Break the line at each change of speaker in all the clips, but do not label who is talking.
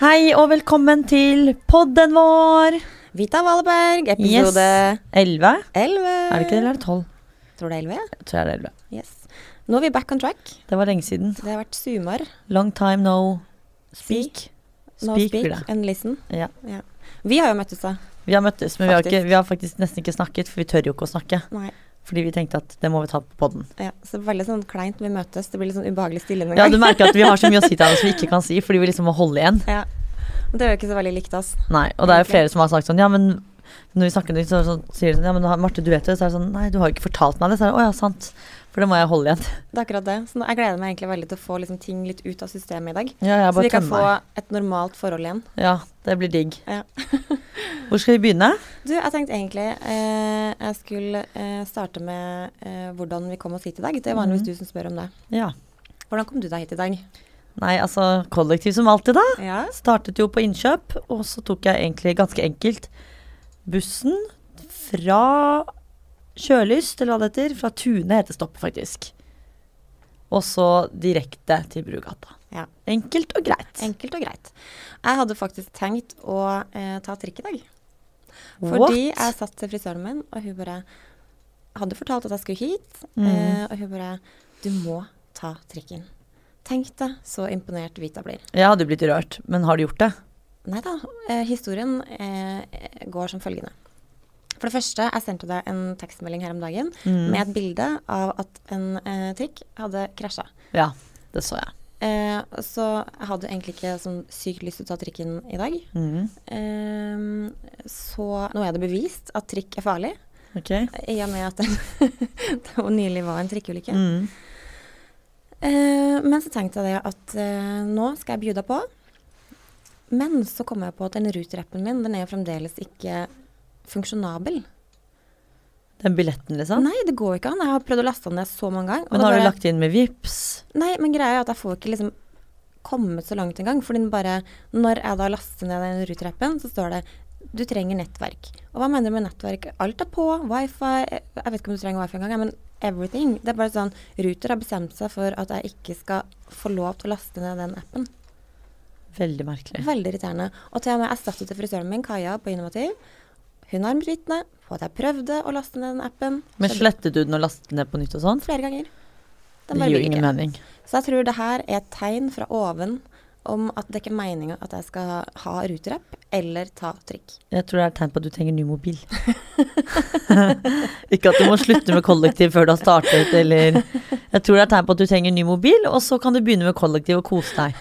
Hei og velkommen til podden vår.
Vita Walleberg, episode
Yes. 11?
11.
Er det ikke det, eller er det 12?
Tror det er 11,
Jeg tror det er 11.
ja. Yes. Nå er vi back on track.
Det var lenge siden.
Det har vært zoomer.
Long time no speak.
No
Speak
speak,
blir det.
and listen.
Ja.
Vi har jo møttes, da.
Vi har møttes, men vi har, ikke,
Faktisk.
vi har faktisk nesten ikke snakket, for vi tør jo ikke å snakke.
Nei.
Fordi vi tenkte at det må vi ta på podden.
Ja, så veldig sånn kleint vi møtes. Det blir litt sånn ubehagelig stille noen
Ja, du
gang.
merker at vi har så mye å si til hverandre som vi ikke kan si, fordi vi liksom må holde igjen.
Ja. Og Det er jo ikke så veldig likt oss.
Nei, og det er jo flere som har sagt sånn, ja, men når vi snakker om det, så, så sier de sånn, ja, men har- Marte, du vet jo det, så er det sånn, nei, du har jo ikke fortalt meg det. Så er det, å ja, sant. For det må jeg holde igjen.
Det er akkurat det. Så nå, jeg gleder meg egentlig veldig til å få liksom, ting litt ut av systemet i dag.
Ja, jeg
Så
bare
vi kan
tømmer
få
meg.
et normalt forhold igjen.
Ja, det blir digg.
Ja.
Hvor skal vi begynne?
Du, jeg tenkte egentlig eh, jeg skulle eh, starte med eh, hvordan vi kom oss hit i dag. Det er vanligvis
Mhm.
du som spør om det.
Ja.
Hvordan kom du deg hit i dag?
Nei, altså kollektiv som alltid, da.
Ja.
Startet jo på innkjøp, og så tok jeg egentlig ganske enkelt bussen fra Kjølyst, eller hva det heter. Fra Tune heter stoppet, faktisk. Og så direkte til Brugata.
Ja.
Enkelt og greit.
Enkelt og greit. Jeg hadde faktisk tenkt å eh, ta trikk i dag. Fordi
What?
jeg satt til frisøren min, og hun bare hadde fortalt at jeg skulle hit.
Mm.
Eh, og hun bare Du må ta trikken. Tenk deg så imponert Vita blir.
Jeg hadde jo blitt rørt, men har du gjort det?
Nei da. Eh, historien eh, går som følgende. For det første, jeg sendte deg en tekstmelding her om dagen
Mm.
med et bilde av at en eh, trikk hadde krasja.
Ja, det så jeg.
Eh, så jeg hadde jo egentlig ikke sånn sykt lyst til å ta trikken i dag.
Mm.
Ehm, så nå er det bevist at trikk er farlig,
Ok.
i og med at det jo nylig var en trikkeulykke.
Mm.
Eh, men så tenkte jeg det at eh, nå skal jeg bjuda på. Men så kom jeg på at den Ruter-appen min den er jo fremdeles ikke funksjonabel.
Den billetten, liksom.
Nei, det går jo ikke an. Jeg har prøvd å laste den ned så mange ganger. og
Men
da
har du
bare-
lagt inn med VIPs?
Nei, men greia er at jeg får ikke liksom kommet så langt engang. For den bare Når jeg da laster ned den Ruter-appen, så står det du trenger nettverk. Og hva mener du med nettverk? Alt er på. Wifi Jeg jeg vet ikke om du trenger wifi engang, jeg, men everything. Det er bare sånn Ruter har bestemt seg for at jeg ikke skal få lov til å laste ned den appen.
Veldig merkelig.
Veldig irriterende. Og til og med jeg satt jo til frisøren min, Kaja, på Innovativ. Hun har mitt vitne på at jeg prøvde å laste ned den appen.
Men
Skjedde
slettet du den og lastet den ned på nytt og sånn?
flere ganger.
Det
Den bare
gir jo
vil ikke.
ingen mening.
Så jeg tror det her er et tegn fra oven om at det ikke er meninga at jeg skal ha ruterapp eller ta trikk.
Jeg tror det er et tegn på at du trenger ny mobil. ikke at du må slutte med kollektiv før du har startet, eller Jeg tror det er et tegn på at du trenger ny mobil, og så kan du begynne med kollektiv og kose deg.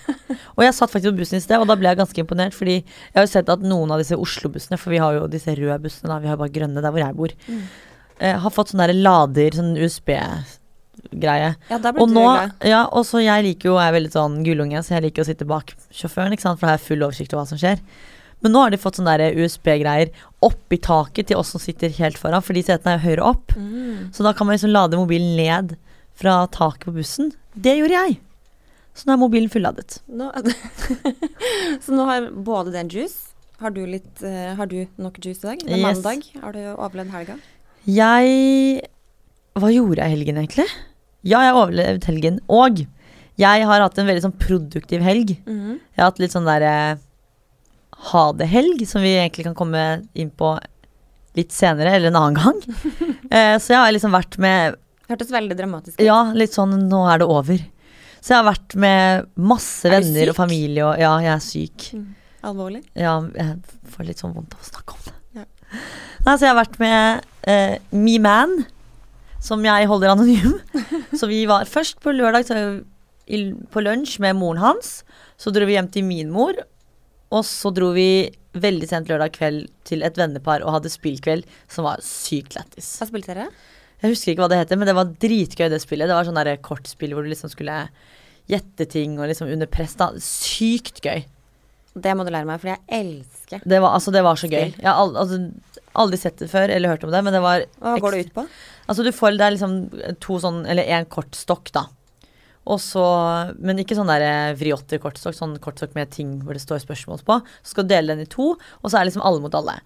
Og jeg satt faktisk på bussen i sted, og da ble jeg ganske imponert, fordi jeg har jo sett at noen av disse Oslo-bussene, for vi har jo disse røde bussene, da, vi har jo bare grønne der hvor jeg bor, eh, har fått sånn der lader, sånn USB-greie.
Ja, da
Og
blir du
nå,
glad.
ja, og så jeg liker jo, jeg er veldig sånn gullunge, så jeg liker å sitte bak sjåføren, ikke sant, for da har jeg full oversikt over hva som skjer. Men nå har de fått sånne der USB-greier oppi taket til oss som sitter helt foran, for de setene er jo høyere opp.
Mm.
Så da kan man liksom lade mobilen ned fra taket på bussen. Det gjorde jeg. Så nå er mobilen fulladet.
Nå, så nå har både den juice Har du, litt, eh, har du nok juice i dag? Det er
Yes.
mandag. Har du overlevd helga?
Jeg Hva gjorde jeg i helgen, egentlig? Ja, jeg overlevde helgen. Og jeg har hatt en veldig sånn produktiv helg.
Mhm.
Jeg har hatt litt sånn der eh, ha det-helg, som vi egentlig kan komme inn på litt senere, eller en annen gang. Eh, så jeg har liksom vært med
Hørtes veldig dramatisk ut.
Ja, litt sånn nå er det over. Så jeg har vært med masse
Er du
venner og
syk?
familie og Ja, jeg er syk.
Mm. Alvorlig.
Ja, jeg får litt sånn vondt av å snakke om det.
Ja.
Nei, så jeg har vært med eh, Me Man, som jeg holder anonym. så vi var først på lørdag så, i, på lunsj med moren hans. Så dro vi hjem til min mor, og så dro vi veldig sent lørdag kveld til et vennepar og hadde spillkveld som var sykt lættis.
Hva spilte dere?
Jeg husker ikke hva det heter, men det var dritgøy det spillet. Det var sånn der kortspill hvor du liksom skulle gjette ting og liksom under press. da. Sykt gøy.
Det må du lære meg, for jeg elsker.
Det var, altså, det var så gøy.
Spill.
Jeg har al- altså, aldri sett det før eller hørt om det, men det var
Hva går det ut på?
Altså, du får det er liksom to sånn Eller én kortstokk, da. Og så Men ikke sånn der eh, vriotter-kortstokk, sånn kortstokk med ting hvor det står spørsmål på. Så skal du dele den i to, og så er det liksom alle mot alle.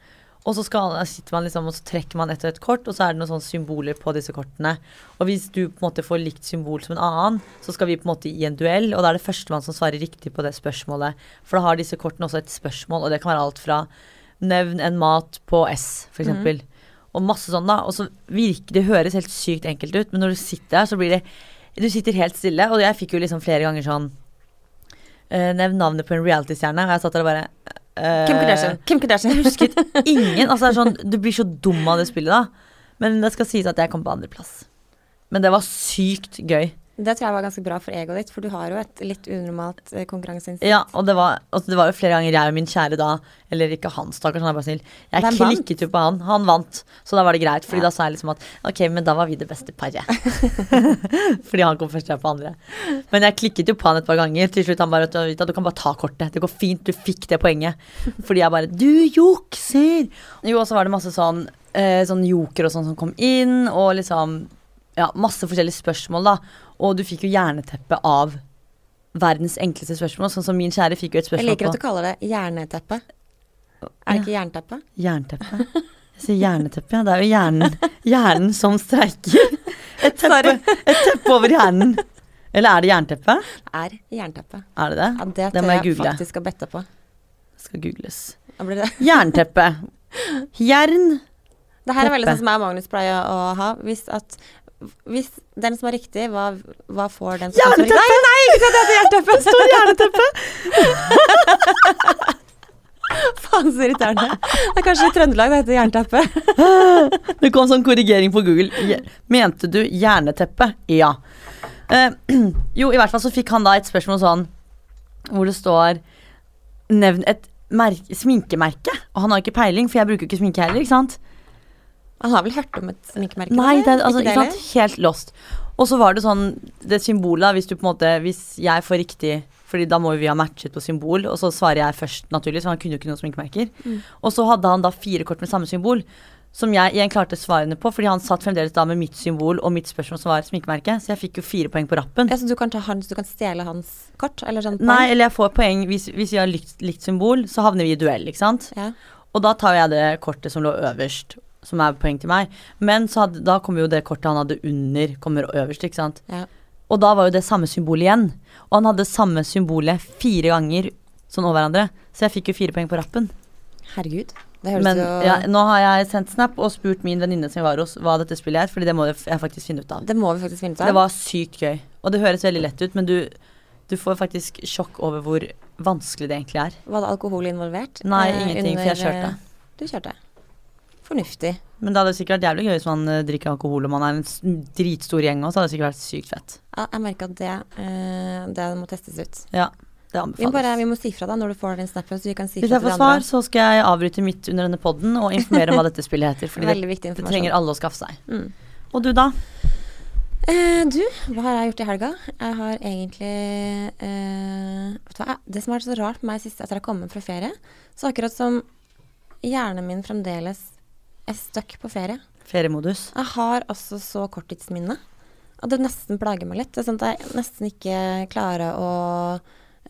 Og så skal, sitter man liksom, og så trekker man etter et kort, og så er det noen sånne symboler på disse kortene. Og hvis du på en måte får likt symbol som en annen, så skal vi på en måte i en duell, og da er det førstemann som svarer riktig på det spørsmålet. For da har disse kortene også et spørsmål, og det kan være alt fra nevn en mat på S, for eksempel. Og masse sånn, da. Og så virker det høres helt sykt enkelt ut, men når du sitter der, så blir det Du sitter helt stille, og jeg fikk jo liksom flere ganger sånn eh, Nevn navnet på en reality-stjerne, og jeg satt der og bare eh,
Kim Kardashian. Kim Kardashian.
husket ingen. Altså det er sånn, du blir så dum av det spillet da. Men det skal sies at jeg kom på andreplass. Men det var sykt gøy.
Det tror jeg var ganske bra for egoet ditt, for du har jo et litt unormalt eh, konkurranseinstinkt.
Ja, og det var, altså det var jo flere ganger jeg og min kjære da, eller ikke han, stakkars, han er bare snill. Jeg
Hvem vant?
klikket jo på han. Han vant, så da var det greit. Fordi
Ja.
da sa jeg liksom at ok, men da var vi det beste paret. fordi han kom først, jeg på andre. Men jeg klikket jo på han et par ganger. Til slutt han bare at du kan bare ta kortet. Det går fint, du fikk det poenget. Fordi jeg bare du jukser! Jo, og så var det masse sånn, eh, sånn joker og sånn som kom inn, og liksom ja, masse forskjellige spørsmål, da. Og du fikk jo jerneteppe av verdens enkleste spørsmål. Sånn som min kjære fikk jo et
Jeg
spørsmål
liker at du kaller det jerneteppe. Er det ikke jernteppe?
på jernteppe. Jeg sier jerneteppe, ja. Det er jo hjernen, hjernen som streiker. Et teppe, et teppe over hjernen. Eller er det jernteppe?
Er jernteppe.
Er det
Ja,
det?
det
Det
tør
må jeg
jeg
google.
faktisk å bette på.
Skal googles.
Da blir det.
Jernteppe. Jern.
det her er veldig
Teppe.
sånn som jeg og Magnus pleier å ha. Hvis, at, hvis den som har riktig, hva, hva får den som har
Jernteppe!
riktig? Nei, nei, ikke sant, det heter jernteppe!
Det står jerneteppe.
Faen så irriterende. Det er kanskje i Trøndelag det heter jernteppe.
Det kom sånn korrigering på Google. Je- Mente du jerneteppe? Ja. Eh, jo, i hvert fall så fikk han da et spørsmål sånn hvor det står Nevn et merk- sminkemerke. Og han har ikke peiling, for jeg bruker jo ikke sminke heller. ikke sant?
Han har vel hørt om et sminkemerke?
Nei, det er,
eller?
altså,
Ikke
ikke sant? Helt lost. Og så var det sånn Det symbolet, da, hvis du på en måte Hvis jeg får riktig Fordi da må jo vi ha matchet på symbol, og så svarer jeg først, naturlig, så han kunne jo ikke noen sminkemerker. Og så hadde han da fire kort med samme symbol, som jeg igjen klarte svarene på, fordi han satt fremdeles da med mitt symbol og mitt spørsmål som var sminkemerke, så jeg fikk jo fire poeng på rappen.
Ja, så du kan, ta hans, du kan stjele hans kort? Eller sånn
Nei, eller jeg får poeng hvis, hvis vi har likt, likt symbol, så havner vi i duell, ikke sant?
Ja.
Og da tar jeg det kortet som lå øverst, som er poeng til meg. Men så hadde, da kommer jo det kortet han hadde under, kommer øverst, ikke sant?
Ja.
Og da var jo det samme symbolet igjen. Og han hadde samme symbolet fire ganger sånn over hverandre. Så jeg fikk jo fire poeng på rappen.
Herregud. Det høres
Men
jo
ja, nå har jeg sendt snap og spurt min venninne som jeg var hos, hva dette spillet er, fordi det må jeg f- jeg faktisk finne ut av.
Det må vi faktisk finne ut av.
Det var sykt gøy. Og det høres veldig lett ut, men du, du får faktisk sjokk over hvor vanskelig det egentlig er.
Var det alkohol involvert?
Nei,
Eh,
ingenting, for jeg
under-
kjørte.
Du kjørte. Fornuftig.
Men det hadde sikkert vært jævlig gøy hvis man eh, drikker alkohol og man er en s- dritstor gjeng også, så hadde det sikkert vært sykt fett.
Ja, jeg merker at det, eh, det må testes ut.
Ja, det
Vi, må
anbefales.
bare, vi må si fra da når du får den snappen, så vi kan si fra
Hvis jeg
til de
får svar,
andre.
så skal jeg avbryte midt under denne podden og informere om hva dette spillet heter. Fordi det,
Veldig viktig
det
informasjon.
trenger alle å skaffe seg.
Mm.
Og du, da?
Eh, du, hva har jeg gjort i helga? Jeg har egentlig eh, vet du hva? Det som har vært så rart med meg sist etter jeg kom hjem fra ferie, så akkurat som hjernen min fremdeles er stuck på ferie.
Feriemodus.
Jeg har altså så korttidsminne. Og det nesten plager meg litt. Det er sånn at jeg nesten ikke klarer å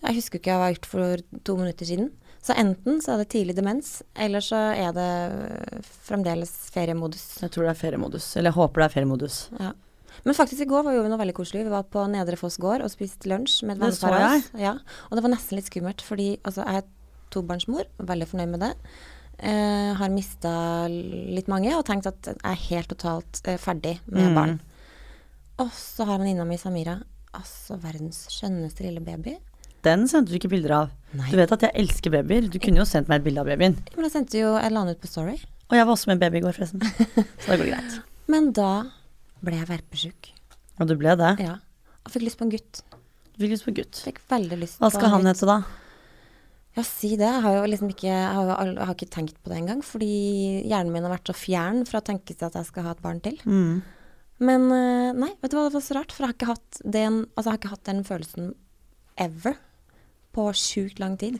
Jeg husker ikke hva jeg har gjort for to minutter siden. Så enten så er det tidlig demens, eller så er det øh, fremdeles feriemodus.
Jeg tror det er feriemodus. Eller jeg håper det er feriemodus.
Ja. Men faktisk i går var vi jo noe veldig koselig. Vi var på Nedre Foss gård og spiste lunsj med et
Det så
vennepar av oss. Ja. Og det var nesten litt skummelt, fordi altså, jeg er tobarnsmor, veldig fornøyd med det. Eh, har mista litt mange og tenkt at jeg er helt totalt eh, ferdig med
Mm.
barn. Og så har venninna mi Samira altså verdens skjønneste lille baby.
Den sendte du ikke bilder av.
Nei.
Du vet at jeg elsker babyer. Du kunne jo sendt meg et bilde av babyen.
Men jeg sendte jo Jeg la den ut på Story.
Og jeg var også med en baby i går, forresten. Så det går greit.
Men da ble jeg verpesjuk.
Og du ble det.
Ja. Og fikk lyst på en gutt.
Du fikk lyst på gutt.
Fikk veldig lyst
Hva
på en
skal han
gutt.
hete, da?
Ja, si det. Jeg har jo liksom ikke, jeg har jo al- jeg har ikke tenkt på det engang. Fordi hjernen min har vært så fjern fra å tenke seg at jeg skal ha et barn til.
Mm.
Men eh, nei, vet du hva, det var så rart. For jeg har ikke hatt den, altså, jeg har ikke hatt den følelsen ever på sjukt lang tid.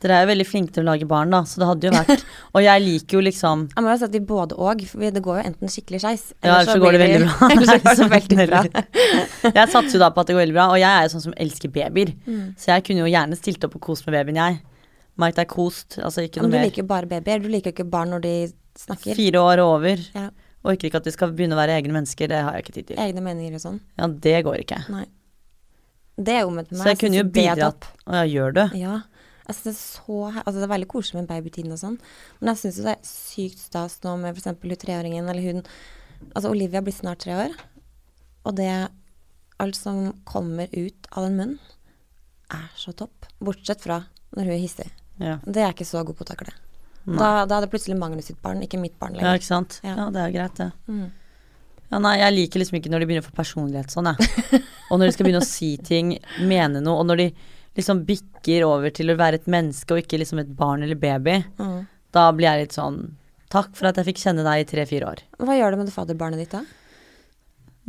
Dere er jo veldig flinke til å lage barn, da, så det hadde jo vært Og jeg liker jo liksom
Jeg må jo si at de både òg. Det går jo enten skikkelig skeis,
Ja, ellers så går det
blir
veldig bra.
Eller så
Nei,
går det veldig bra.
Jeg satser
Mm.
jo da på at det går veldig bra, og jeg er jo sånn som elsker babyer. Så jeg kunne jo gjerne stilt opp og kost med babyen, jeg. meg til kost. Altså ikke
Ja, men
noe
du
mer.
liker jo bare babyer. Du liker jo ikke barn når de snakker.
Fire år og over.
Ja.
Og ikke at de skal begynne å være egne mennesker, det har jeg ikke tid til.
Egne meninger og sånn.
Ja, det går ikke.
Nei. Det er jo med meg.
Så jeg kunne jo
synes det er
bidratt.
topp.
Å ja, gjør du?
Ja. Jeg synes det, er så, he- altså det er veldig koselig med babytiden og sånn, men jeg syns jo det er sykt stas nå med f.eks. hun treåringen eller hun Altså Olivia blir snart tre år, og det Alt som kommer ut av den munnen, er så topp. Bortsett fra når hun er hissig.
Ja.
Det er jeg ikke så god på å takle.
Nei.
Da, da er det plutselig Magnus sitt barn, ikke mitt barn
ja,
lenger.
ikke sant?
Ja.
Ja, det er jo greit, det.
Mm.
Ja, nei, jeg liker liksom ikke når de begynner å få personlighet sånn, jeg. Og når de skal begynne å si ting, mene noe, og når de liksom bikker over til å være et menneske og ikke liksom et barn eller baby,
Mm.
da blir jeg litt sånn Takk for at jeg fikk kjenne deg i tre-fire år.
Hva gjør det med det fadderbarnet ditt da?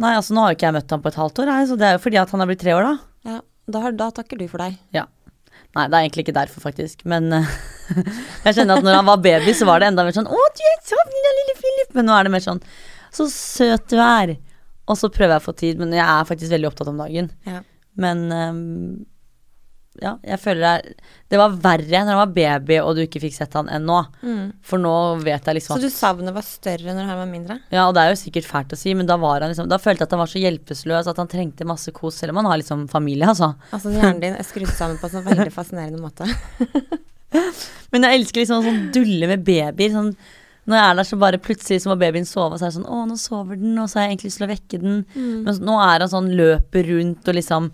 Nei, altså nå har jo ikke jeg møtt ham på et halvt år, jeg, så det er jo fordi at han har blitt tre år, da.
Ja, da, har, da takker du for deg.
Nei, det er egentlig ikke derfor, faktisk. Men eh, jeg kjenner at når han var baby, så var det enda mer sånn Å, du er så lille, lille Philip. Men nå er det mer sånn Så søt du er. Og så prøver jeg å få tid, men jeg er faktisk veldig opptatt om dagen.
Ja.
Men eh, ja, jeg føler det er Det var verre når han var baby og du ikke fikk sett han enn nå.
Mm.
For nå vet jeg
Så
liksom at
du savnet var større når han var mindre?
Ja, og det er jo sikkert fælt å si, men da var han liksom Da følte jeg at han var så hjelpeløs at han trengte masse kos, selv om han har liksom familie, altså.
Altså Hjernen din er skrudd sammen på en sånn veldig fascinerende måte.
Men jeg elsker liksom sånn dulle med babyer. Sånn, når jeg er der, så bare plutselig så må babyen sove, og så er det sånn Å, nå sover den, og så har jeg egentlig lyst til å vekke den.
Mm.
Men så- nå er han sånn løper rundt og liksom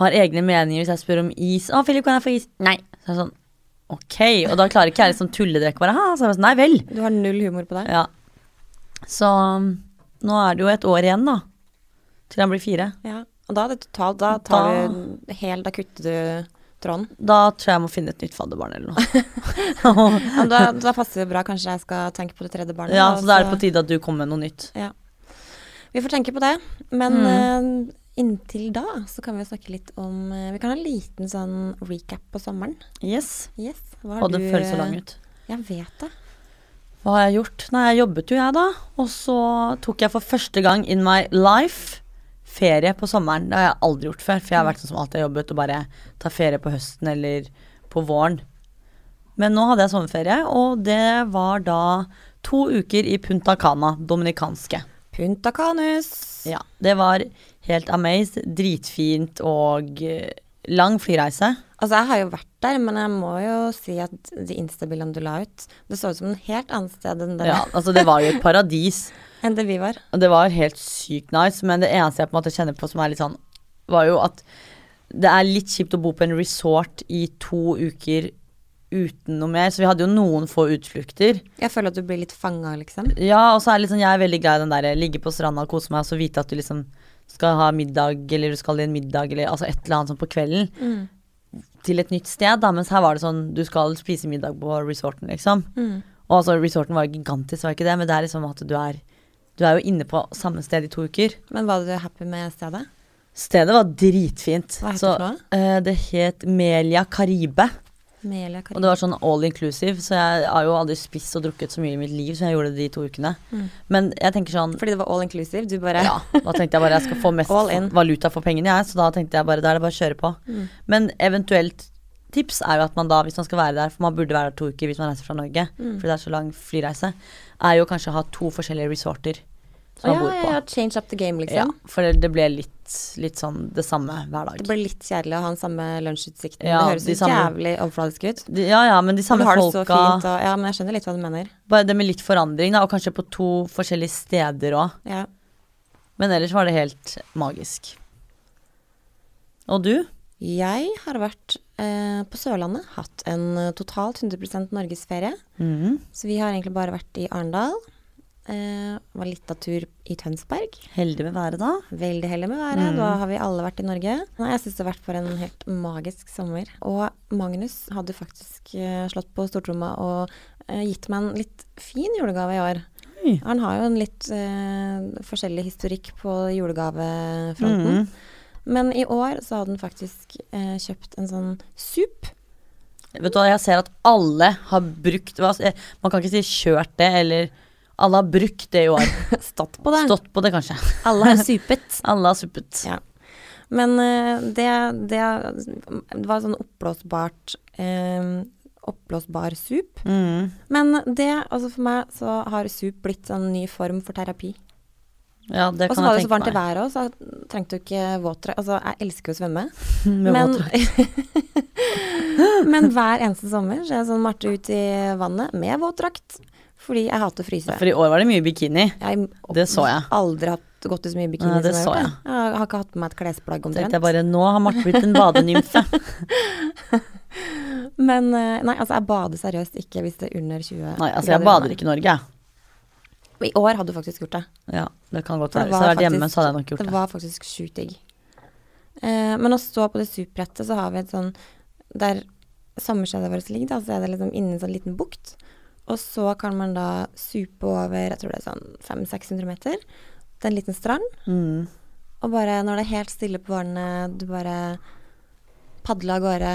har egne meninger. Hvis jeg spør om is Å, Philip, kan jeg få is? Nei. Så er det sånn Ok. Og da klarer ikke jeg liksom tulledrekk bare ha, så er jeg sånn Nei vel.
Du har null humor på deg.
Ja. Så um, nå er det jo et år igjen, da. Til han blir fire.
Ja. Og da er det totalt Da tar
Da-
du hel, da kutter du tråden.
Da tror jeg jeg må finne et nytt fadderbarn eller noe.
Ja, da, da passer det bra, kanskje jeg skal tenke på det tredje barnet.
ja,
da,
så da er det på tide at du kommer med noe nytt.
Vi får tenke på det. Men eh, inntil da så kan vi jo snakke litt om eh, Vi kan ha en liten sånn recap på sommeren.
Yes.
Yes. Hva har
Og det
du, eh,
føles så lang ut.
Jeg vet det.
Hva har jeg gjort? Nei, jeg jobbet jo jeg da, og så tok jeg for første gang in my life ferie på sommeren. Det har jeg aldri gjort før, for jeg har vært sånn som alltid har jobbet og bare tar ferie på høsten eller på våren. Men nå hadde jeg sommerferie, og det var da to uker i Punta Cana, dominikanske.
Punta Canus.
Ja, det var helt amazed, dritfint og eh, lang flyreise.
Altså, jeg har jo vært der, men jeg må jo si at de instabildene du la ut, det så ut som en helt annet sted enn det,
Ja, altså det var jo et paradis.
enn det vi var.
Og det var helt sykt nice, men det eneste jeg på en måte kjenner på som er litt sånn, var jo at det er litt kjipt å bo på en resort i to uker uten noe mer. Så vi hadde jo noen få utflukter.
Jeg føler at du blir litt fanga, liksom.
Ja, og så er det litt sånn, jeg er veldig glad i den der ligge på stranda og kose meg, og så vite at du liksom skal ha middag, eller du skal i en middag, eller altså et eller annet sånn på kvelden. Til et nytt sted, da, mens her var det sånn, du skal spise middag på resorten, liksom. Og altså, resorten var jo gigantisk, var ikke det, men det er liksom at du er, du er jo inne på samme sted i to uker.
Men var du happy med stedet?
Stedet var dritfint.
Hva heter
Så,
det for noe?
eh, det het Melia Caribe.
Melia
Og det var sånn all inclusive, så jeg har jo aldri spist og drukket så mye i mitt liv som jeg gjorde de to ukene.
Mm.
Men jeg tenker sånn
Fordi det var all inclusive? Du bare
ja, da tenkte jeg bare jeg skal få mest
All in.
valuta for pengene, jeg. Så da tenkte jeg bare da er det bare å kjøre på.
Mm.
Men eventuelt tips er jo at man da, hvis man skal være der, for man burde være der to uker hvis man reiser fra Norge,
Mm.
fordi det er så lang flyreise, er jo kanskje å ha to forskjellige resorter som man
Å, ja,
bor
ja,
på.
ja, change up the game,
Ja,
liksom.
for det, det ble litt, litt sånn det samme hver dag.
Det ble litt kjedelig å ha den samme lunsjutsikten.
Ja,
det høres
de
jo
samme-
jævlig overfladisk ut.
De- Ja, ja, men de
Men
samme
Du har det så
folka
fint, og, ja, men jeg skjønner litt hva du mener.
Bare det med litt forandring, da, og kanskje på to forskjellige steder òg.
Ja.
Men ellers var det helt magisk. Og du?
Jeg har vært eh, på Sørlandet, hatt en eh, totalt 100 norgesferie. Så vi har egentlig bare vært i Arendal. Eh, var litt av tur i Tønsberg.
Heldig med været, da.
Veldig heldig med været. Da
Mm.
har vi alle vært i Norge. Nei, jeg syns det har vært for en helt magisk sommer. Og Magnus hadde faktisk eh, slått på stortromma og eh, gitt meg en litt fin julegave i år.
Oi.
Han har jo en litt eh, forskjellig historikk på
Mm.
julegavefronten. Men i år så hadde han faktisk eh, kjøpt en sånn sup. Mm.
Vet du hva, jeg ser at alle har brukt hva, eh, Man kan ikke si kjørt det, eller Alle har brukt det i år.
Stått på det.
Stått på det, kanskje.
Alle har supet.
Alle har suppet.
Ja. Men eh, det, det, det var sånn oppblåsbart eh, oppblåsbar SUP.
Mm.
Men det, altså for meg så har SUP blitt en ny form for terapi.
Ja, det
Og så
kan
var det
jeg
så varmt
tenke
i
meg.
været òg, så jeg trengte jo ikke våtdrakt. Altså, jeg elsker jo å svømme.
Med
Men,
våtdrakt.
men hver eneste sommer så er jeg sånn Marte ut i vannet med våtdrakt. Fordi jeg hater å fryse.
For i år var det mye bikini.
Jeg
Det så jeg.
har aldri hatt, gått i så mye bikini
Nei, det
som jeg har
så
gjort. Jeg. jeg har ikke hatt på meg et klesplagg
Tenkte
omtrent.
jeg bare, nå har Marte blitt en badenymfe.
Men eh, nei, altså jeg bader seriøst ikke hvis det er under 20
Nei, altså jeg bader ikke i Norge, jeg.
I år hadde du faktisk gjort det.
Ja, det kan godt
For
være. Hvis
det
jeg
var
hadde vært hjemme,
faktisk-
så hadde jeg nok gjort
Det
det.
var faktisk sjukt digg. Eh, men å stå på det superbrettet, så har vi et sånn Der sommerstedet vårt ligger, da, så er det liksom inni en sånn liten bukt. Og så kan man da supe over jeg tror det er sånn 500-600 meter til en liten strand.
Mm.
Og bare når det er helt stille på vårene, du bare padler av gårde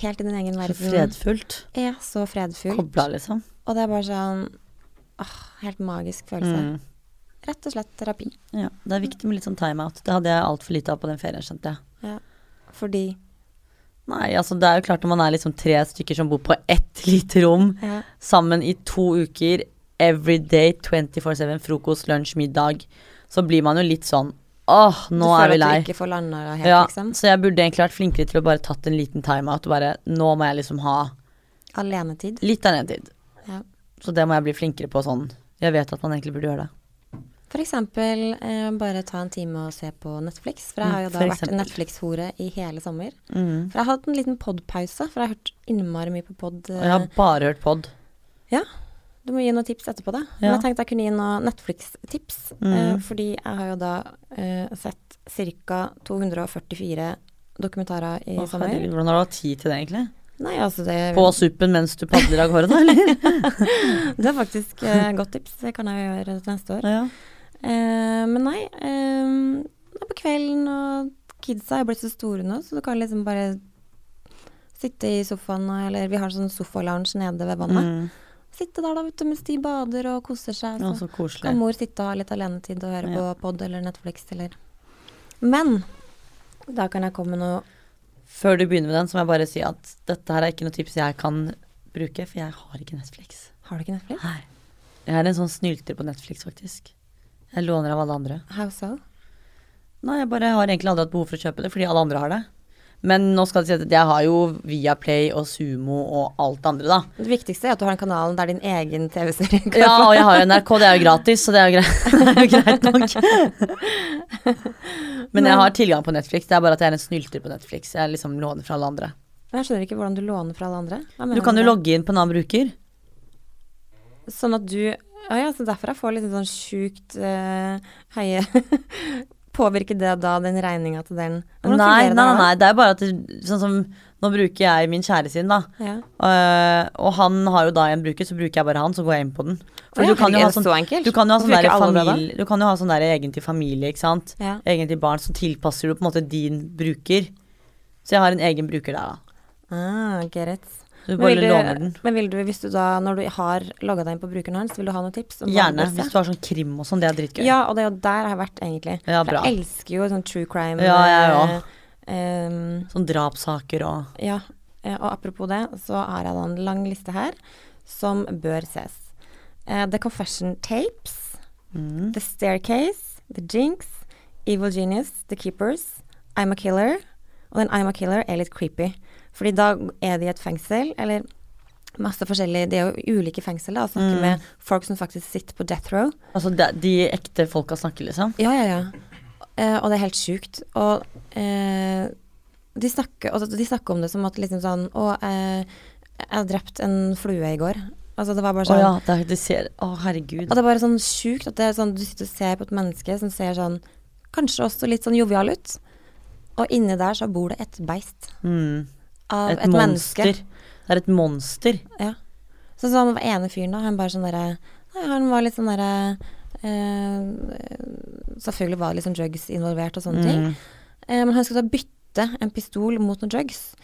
helt i din egen
Så
verden.
fredfullt.
Ja, så fredfullt.
Kobla, liksom.
Og det er bare sånn åh, helt magisk følelse.
Mm.
Rett og slett terapi.
Ja, det er viktig med litt sånn timeout. Det hadde jeg altfor lite av på den ferien, skjønte jeg.
Fordi
Nei, altså det er jo klart når man er liksom tre stykker som bor på ett lite rom
ja,
sammen i to uker, every day 24-7, frokost, lunsj, middag, så blir man jo litt sånn Åh,
du
nå er
føler
vi
at
lei.
du ikke får landa det helt,
Ja,
liksom.
så jeg burde egentlig vært flinkere til å bare tatt en liten timeout og bare Nå må jeg liksom ha
Alenetid.
litt alenetid.
Ja.
Så det må jeg bli flinkere på sånn. Jeg vet at man egentlig burde gjøre det.
For eksempel eh, bare ta en time og se på Netflix. For jeg har jo
Mm,
da
for
vært
eksempel.
Netflix-hore i hele sommer. For jeg har hatt en liten podpause, for jeg har hørt innmari mye på pod. eh,
Og jeg har bare hørt pod.
Du må gi noen tips etterpå, da. Men
Ja.
jeg tenkte jeg kunne gi noen Netflix-tips. Eh,
Mm.
fordi jeg har jo da eh, sett ca. 244 dokumentarer i
Å,
sommer.
herregud, hvordan har du hatt tid til det, egentlig?
Nei, altså det
På suppen mens du padler av gårde, da, eller?
Det er faktisk eh, godt tips. Det kan jeg jo gjøre til neste år.
ja.
Eh, men nei, eh, det er på kvelden, og kidsa er blitt så store nå, så du kan liksom bare sitte i sofaen, og- eller vi har sånn sofa-lounge nede ved vannet.
Mm.
Sitte der da, vet du, mens de bader og koser seg.
Å, så
Så
koselig.
Altså. kan mor sitte og ha litt alenetid og høre
Ja.
på pod eller Netflix eller Men da kan jeg komme med noe
Før du begynner med den, så må jeg bare si at dette her er ikke noe tips jeg kan bruke, for jeg har ikke Netflix.
Har du ikke Netflix?
Nei. Jeg er en sånn snylter på Netflix, faktisk. Jeg låner av alle andre.
How so?
Nei, jeg bare har egentlig aldri hatt behov for å kjøpe det, fordi alle andre har det. Men nå skal det si at jeg har jo Viaplay og Sumo og alt det andre, da.
Det viktigste er at du har den kanalen der din egen TV-serie går
Ja,
på.
og jeg har jo NRK, det er jo gratis, så det er jo greit, det er jo greit nok. Men jeg har tilgang på Netflix, det er bare at jeg er en snylter på Netflix. Jeg liksom låner fra alle andre.
Jeg skjønner ikke hvordan du låner fra alle andre. Hva mener
Du kan
med
jo
det?
logge inn på en annen bruker.
Sånn at du Ja, ja, så derfor jeg får litt sånn sjukt eh, høye Påvirker det da den regninga til den?
Nei,
Hvordan
nei, nei,
fungerer det da?
nei, det er bare at det, sånn som Nå bruker jeg min kjære sin, da.
Ja.
Eh, og han har jo da en bruker, så bruker jeg bare han, så går jeg inn på den. For
Å ja,
du kan jo ha
herregud, er det
sånn
så enkelt.
Du kan jo ha
Hvorfor
sånn der
ikke alle det da?
familie, du kan jo ha sånn der egen til familie, ikke sant.
Ja.
Egen til barn, så tilpasser du på en måte din bruker. Så jeg har en egen bruker der, da.
Ah, get it.
Så du
Men
bare
vil du-
låner den.
Men vil du, hvis du da, når du har logga deg inn på brukeren hans, vil du ha noen tips? om hva
Gjerne,
du bør
hvis
se?
du har sånn krim og sånn, det er dritgøy.
Ja, og det er jo der jeg har vært, egentlig.
Ja,
For
bra.
jeg elsker jo sånn true crime.
Ja, jeg
eh, ehm,
Sånn drapssaker og
Ja, eh, og apropos det, så har jeg da en lang liste her som bør ses. Eh, The Confession Tapes,
mm.
The Staircase, The Jinx, Evil Genius, The Keepers, I'm a Killer, og den I'm a Killer er litt creepy. Fordi da er de i et fengsel, eller masse forskjellig, det er jo ulike fengsel da, og snakker med folk som faktisk sitter på death row.
Altså de, de ekte folka snakker, liksom.
Ja, ja, ja. Eh, og det er helt sjukt. Og eh, de, snakker, og de snakker om det som at liksom sånn Å, eh, jeg drept en flue i går. Altså, det var bare
Å
sånn.
ja, det er, de ser Å, herregud.
Og det er bare sånn sjukt at det er sånn, du sitter og ser på et menneske som ser sånn Kanskje også litt sånn jovial ut. Og inni der så bor det et beist
Mm.
av
Et,
et, menneske.
monster. Det er et monster.
Ja. Så sånn var ene fyren da, han bare sånn derre nei, Han var litt sånn derre eh, Selvfølgelig var det litt sånn drugs involvert og sånne
Mm.
ting. Eh, men han skulle da bytte en pistol mot noen drugs.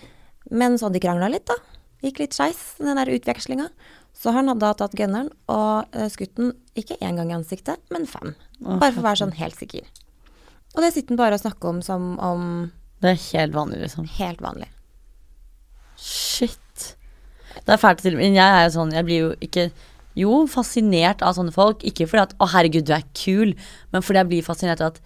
Men så hadde de krangla litt, da. Gikk litt skeis, den der utvekslinga. Så han hadde da tatt gunneren og eh, skutt den ikke én gang i ansiktet, men fem. Bare for å være sånn helt sikker. Og det sitter han bare og snakker om som om
Det er helt vanlig, liksom.
helt vanlig.
Shit. Det er fælt å si, men jeg er jo sånn, jeg blir jo ikke Jo, fascinert av sånne folk. Ikke fordi at 'Å, herregud, du er kul', men fordi jeg blir fascinert av at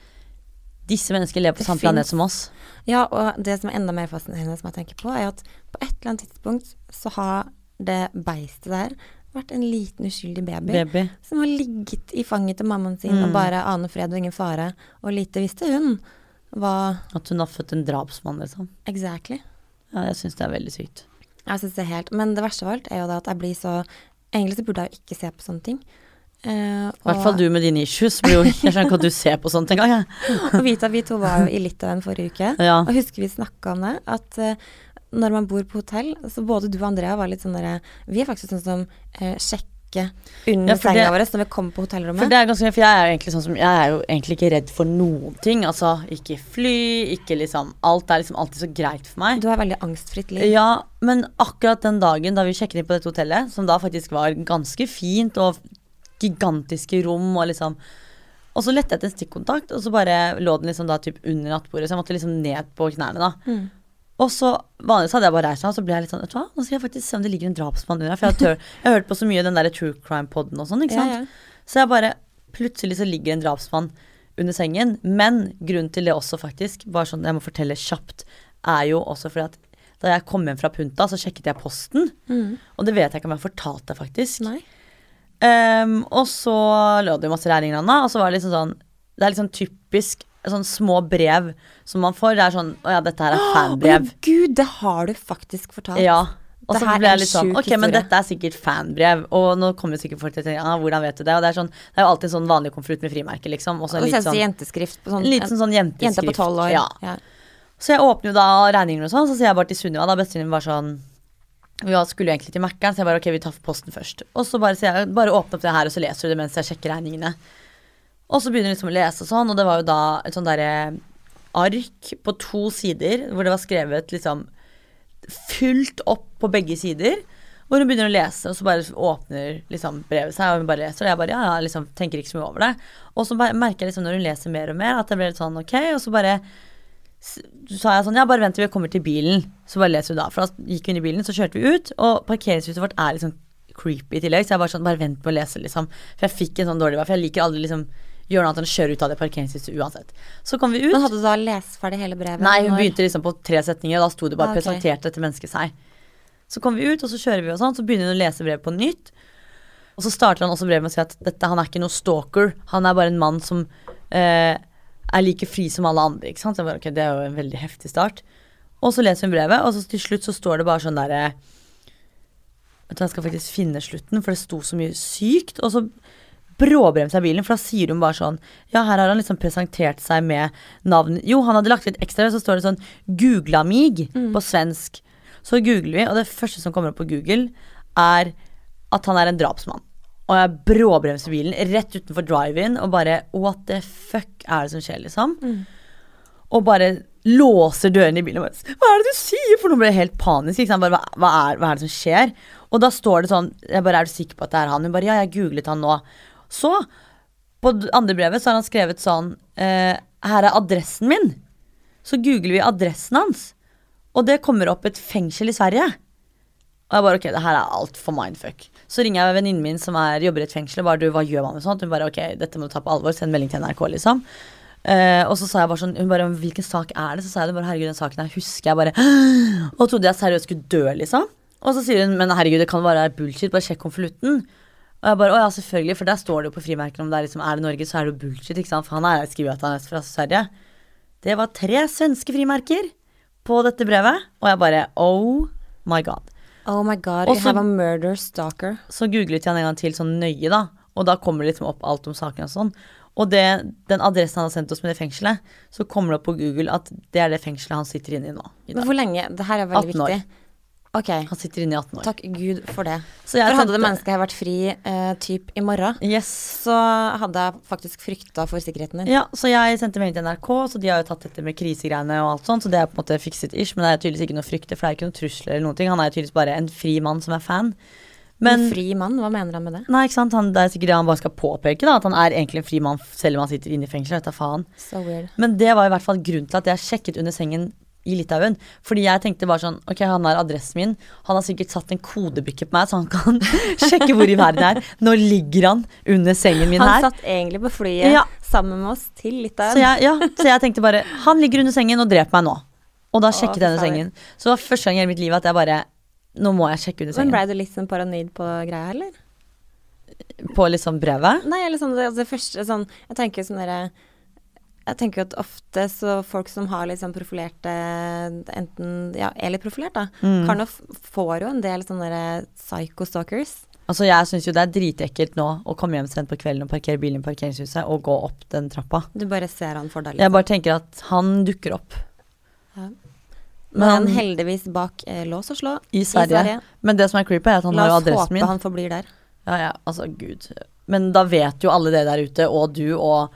disse menneskene lever på
Det
samme
finnes.
planet som oss.
Ja, og det som er enda mer fascinerende som jeg tenker på, er at på et eller annet tidspunkt så har det beistet der vært en liten uskyldig baby,
Baby.
som har ligget i fanget til mammaen sin og
Mm.
bare aner fred og ingen fare, og lite visste hun hva
At hun har født en drapsmann, liksom.
exactly.
Ja, jeg syns det er veldig sykt.
Jeg synes det er helt, Men det verste av alt er jo da at jeg blir så Egentlig så burde jeg jo ikke se på sånne ting. Eh,
I hvert fall du med dine issues. Blir jo, jeg skjønner ikke at du ser på sånt engang. jeg.
og vite at vi to var jo i Litauen forrige uke.
Ja.
Og husker vi snakka om det, at eh, når man bor på hotell, så både du og Andrea var litt sånn derre Vi er faktisk sånn som eh, sjekker
Ja,
under
for
senga
det-
vår når vi kommer på
For
hotellrommet.
det er ganske For jeg er jo egentlig sånn som Jeg er jo egentlig ikke redd for noen ting. Altså, ikke fly, ikke liksom Alt er liksom alltid så greit for meg.
Du har veldig angstfritt liv.
Ja, men akkurat den dagen da vi sjekket inn på dette hotellet, som da faktisk var ganske fint og gigantiske rom og liksom Og så lette jeg etter en stikkontakt, og så bare lå den liksom da typ under nattbordet, så jeg måtte liksom ned på knærne, da.
Mm.
Og så vanligvis hadde jeg bare reist meg, og så ble jeg litt sånn Vet du hva, nå skal jeg faktisk se om det ligger en drapsmann under her, for jeg har, tør, jeg har hørt på så mye den derre true crime-poden og sånn, ikke sant.
Ja, ja.
Så jeg bare Plutselig så ligger en drapsmann under sengen. Men grunnen til det også, faktisk, bare sånn jeg må fortelle kjapt, er jo også fordi at da jeg kom hjem fra Punta, så sjekket jeg posten.
Mm.
Og det vet jeg ikke om jeg fortalte deg, faktisk.
Nei.
Ehm, og så lå det jo masse regninger Anna, og så var det liksom sånn Det er liksom typisk sånn små brev som man får. Det er sånn Å ja, dette her er fanbrev.
Å, Gud, det har du faktisk fortalt.
Ja. Og
Det
så
her
ble
er
jeg litt sånn
en sjuk
Ok, men
historie.
dette er sikkert fanbrev. Og nå kommer sikkert folk til å tenke ah, hvordan vet du det? Og det er sånn Det er jo alltid en sånn vanlig konvolutt med frimerke, liksom. Og så en
Og så
litt
sånn,
sånn,
jenteskrift på sånn
en liten sånn
en
jenteskrift.
jente på tolv år.
Ja.
Ja.
Så jeg åpner jo da regningene og sånn, så sier jeg bare til Sunniva, da bestevenninnen min var sånn vi var- skulle jo egentlig til Mækkern, så jeg bare ok, vi tar posten først. Og så bare sier jeg bare åpne opp det her, og så leser du det mens jeg sjekker regningene. Og så begynner jeg liksom å lese og sånn, og det var jo da et sånn derre ark på to sider hvor det var skrevet liksom fullt opp på begge sider. Hvor hun begynner å lese, og så bare åpner liksom brevet seg. Og hun bare leser, og jeg bare ja, ja, liksom tenker ikke så mye over det. Og så bare merker jeg liksom når hun leser mer og mer, at jeg blir litt sånn ok, og så bare s- sa jeg sånn ja, bare vent til vi kommer til bilen, så bare leser hun da. For da gikk hun i bilen, så kjørte vi ut, og parkeringshuset vårt er liksom creepy i tillegg, så jeg bare sånn bare vent med å lese, liksom. For jeg fikk en sånn dårlig vei, for jeg liker aldri liksom gjøre noe annet enn å kjøre ut av det parkeringshuset uansett. Så kom vi ut.
Men hadde du da lest ferdig hele brevet?
Nei, hun
når-
begynte liksom på tre setninger, og da sto det bare
Ah, ok.
presentert dette mennesket seg. Så kom vi ut, og så kjører vi og sånn, så begynner hun å lese brevet på nytt. Og så starter han også brevet med å si at dette, han er ikke noe stalker, han er bare en mann som eh, er like fri som alle andre, ikke sant. Så jeg bare, ok, det er jo en veldig heftig start. Og så leser hun brevet, og så til slutt så står det bare sånn derre Vet du, hva, jeg skal faktisk finne slutten, for det sto så mye sykt. Og så bråbremsa bilen, for da sier hun bare sånn Ja, her har han liksom presentert seg med navn Jo, han hadde lagt til et ekstra, så står det sånn Googlamig på svensk. Så googler vi, og det første som kommer opp på Google, er at han er en drapsmann. Og jeg bråbremser bilen rett utenfor drive-in og bare What the fuck er det som skjer, liksom? Og bare låser dørene i bilen og bare Hva er det du sier? For nå ble jeg helt panisk. Ikke sant? Bare, hva, hva, er, hva er det som skjer? Og da står det sånn Jeg bare Er du sikker på at det er han? Hun bare Ja, jeg googlet han nå. Så, på d- andre brevet, så har han skrevet sånn eh, Her er adressen min. Så googler vi adressen hans, og det kommer opp et fengsel i Sverige. Og jeg bare ok, det her er altfor mindfuck. Så ringer jeg venninnen min som er, jobber i et fengsel og bare du, hva gjør man med sånt? Hun bare ok, dette må du ta på alvor, send melding til NRK, liksom. Eh, og så sa jeg bare sånn, hun bare hvilken sak er det? Så sa jeg det bare herregud, den saken her husker jeg bare. Og trodde jeg seriøst skulle dø, liksom. Og så sier hun men herregud, det kan være bullshit, bare sjekk konvolutten. Og jeg bare å ja, selvfølgelig, for der står det jo på frimerkene om det er liksom er det Norge, så er det jo bullshit, ikke sant. For han er skrevet at han er fra Sverige. Det var tre svenske frimerker på dette brevet, og jeg bare oh my god.
Oh my god,
Og
you
så-
have a murder stalker.
Så googlet jeg han en gang til sånn nøye, da. Og da kommer det liksom opp alt om saken og sånn. Og det, den adressen han har sendt oss med det fengselet, så kommer det opp på Google at det er det fengselet han sitter inne i nå. I
Men
dag.
hvor lenge? Det her er veldig
18 år.
viktig. Ok,
Han sitter inne i 18 år.
takk Gud for det.
Så jeg
for hadde
sendte-
det mennesket her vært fri eh, typ i morgen,
Yes.
så hadde jeg faktisk frykta for sikkerheten din.
Ja, så jeg sendte melding til NRK, så de har jo tatt dette med krisegreiene og alt sånt, så det er på en måte fikset ish, men det er tydeligvis ikke noe å frykte, for det er ikke noen trusler eller noen ting. Han er jo tydeligvis bare en fri mann som er fan. Men
en fri mann, hva mener han med det?
Nei, ikke sant? Han, det er sikkert det han bare skal påpeke, da, at han er egentlig en fri mann selv om han sitter inne i fengsel. Vet da faen.
So weird.
Men det var i hvert fall grunnen til at jeg sjekket under sengen i Litauen. Fordi jeg tenkte bare sånn Ok, han har adressen min. Han har sikkert satt en kodebrikke på meg, så han kan sjekke hvor i verden jeg er. Nå ligger han under sengen min
Han
her.
satt egentlig på flyet
Ja.
sammen med oss til
Så
Litauen.
jeg, ja, så jeg tenkte bare Han ligger under sengen og drep meg nå. Og da sjekket jeg
fy
under
fader.
sengen. Så det var første gang i hele mitt liv at jeg bare Nå må jeg sjekke under
Men
sengen.
blei du litt sånn paranoid på greia, eller?
På liksom brevet.
Nei, eller sånn det, altså det første sånn Jeg tenker jo sånn derre jeg tenker jo at ofte så folk som har litt sånn profilerte Enten ja, er litt profilert, da.
Mm.
Kan jo f får jo en del sånne derre psycho-stalkers.
Altså Jeg syns jo det er dritekkelt nå å komme hjem sent på kvelden og parkere bilen i parkeringshuset og gå opp den trappa.
Du bare ser han for deg litt.
Jeg bare tenker at han dukker opp
liksom. Men
men-
heldigvis bak eh, lås og slå.
i Sverige.
Sverige.
Men det som er creepy, er at han
La
har jo
oss
adressen
håpe
min.
han forblir der.
Ja, ja, altså gud Men da vet jo alle det der ute, og du, og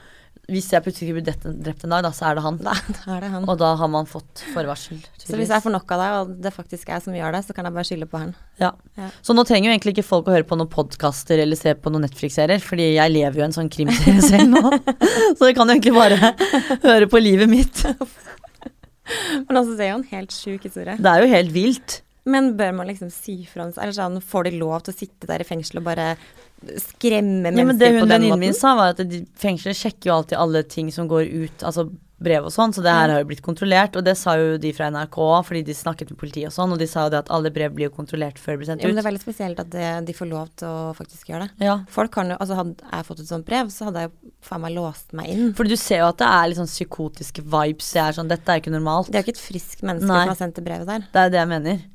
hvis jeg plutselig blir drept, drept en dag, da, så er det han.
Da, da er det han.
Og da har man fått forvarsel.
Så hvis jeg får nok av deg, og det faktisk er jeg som gjør det, så kan jeg bare skylde på han.
Ja.
Ja.
Så nå trenger jo egentlig ikke folk å høre på noen podkaster eller se på noen Netflix-serier, fordi jeg lever jo en sånn krimserie selv nå. Så dere kan jo egentlig bare høre på livet mitt.
Men altså, det er jo en helt sjuk historie.
Det er jo helt vilt.
Men bør man liksom si fra om Eller sånn, får de lov til å sitte der i fengsel og bare skremme
Ja,
mennesker
men det
på
hun
den
venninnen
måten?
min sa, var at de- fengselet sjekker jo alltid alle ting som går ut, altså brev og sånn, så det her har jo blitt kontrollert. Og det sa jo de fra NRK òg, fordi de snakket med politiet og sånn, og de sa jo det at alle brev blir jo kontrollert før de blir sendt
Ja, men det
ut.
er veldig spesielt at det, de får lov til å faktisk gjøre det.
Ja,
Folk kan jo, altså Hadde jeg fått et sånt brev, så hadde jeg jo faen meg låst meg inn.
for du ser jo at det er litt sånn psykotiske vibes. Jeg er sånn, dette er ikke normalt.
Det er jo ikke et friskt menneske
Nei.
som har sendt det brevet der.
Det er jo det jeg mener.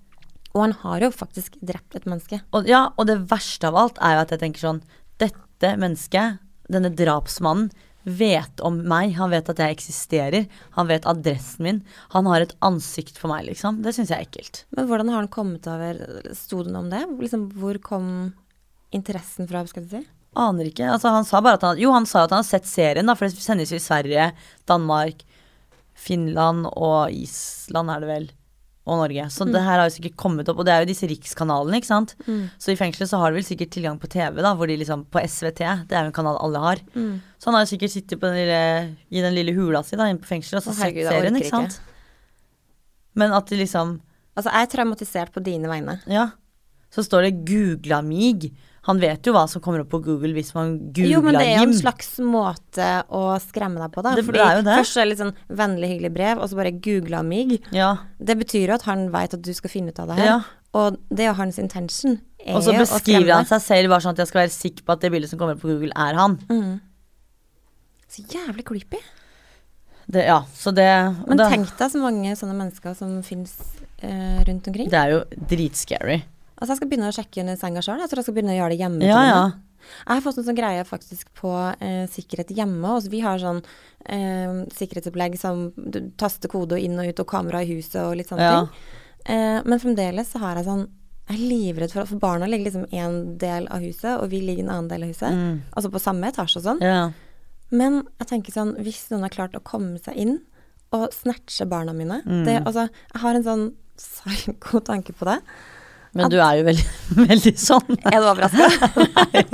Og han har jo faktisk drept et menneske.
Og, ja, og det verste av alt er jo at jeg tenker sånn Dette mennesket, denne drapsmannen, vet om meg. Han vet at jeg eksisterer. Han vet adressen min. Han har et ansikt for meg, liksom. Det syns jeg er ekkelt.
Men hvordan har han kommet over Sto det noe om det? Liksom, hvor kom interessen fra, skal du si?
Aner ikke. Altså, han sa bare at han, jo, han sa at han har sett serien, da, for det sendes jo i Sverige, Danmark, Finland og Island, er det vel. Og Norge.
Mm.
Så det her har jo sikkert kommet opp. Og det er jo disse rikskanalene, ikke sant. Så i fengselet så har du vel sikkert tilgang på TV, da, hvor de liksom På SVT, det er jo en kanal alle har. Så han har jo sikkert sittet på den lille, i den lille hula si da, inne på fengselet og så
Å, herregud,
sett
jeg
serien,
orker
ikke sant.
ikke.
Men at de liksom
Altså, jeg er traumatisert på dine vegne.
Ja. Så står det 'googla mig'. Han vet jo hva som kommer opp på Google hvis man googler
Jo, men det er jo en
Jim.
slags måte å skremme deg på, da.
Det er jo det.
Først er det litt sånn vennlig, hyggelig brev, og så bare googla mig.
Ja.
Det betyr jo at han veit at du skal finne ut av det her.
Ja.
Og det er jo hans intention. Er
Og så
jo å
beskriver
skremme
han
deg.
seg selv bare sånn at jeg skal være sikker på at det bildet som kommer opp på Google, er han.
Mm. Så jævlig creepy.
Det, ja, så det og
Men
da-
tenk deg så mange sånne mennesker som fins rundt omkring.
Det er jo dritscary.
Altså, jeg skal begynne å sjekke under senga sjøl. Jeg tror jeg skal begynne å gjøre det hjemme.
Ja,
til og
ja.
med. Jeg har fått en sånn greie faktisk på eh, sikkerhet hjemme. Og så vi har sånn eh, sikkerhetsopplegg som du taster kode og inn og ut, og kamera i huset og litt sånne
Ja.
ting. Eh, men fremdeles så har jeg sånn Jeg er livredd for For barna ligger liksom én del av huset, og vi ligger i en annen del av huset. Altså på samme etasje og sånn.
Mm. ja.
Men jeg tenker sånn, hvis noen har klart å komme seg inn og snatche barna mine det, altså, Jeg har en sånn psyko tanke på det.
Men du er jo veldig, veldig sånn.
Er du overraska? She's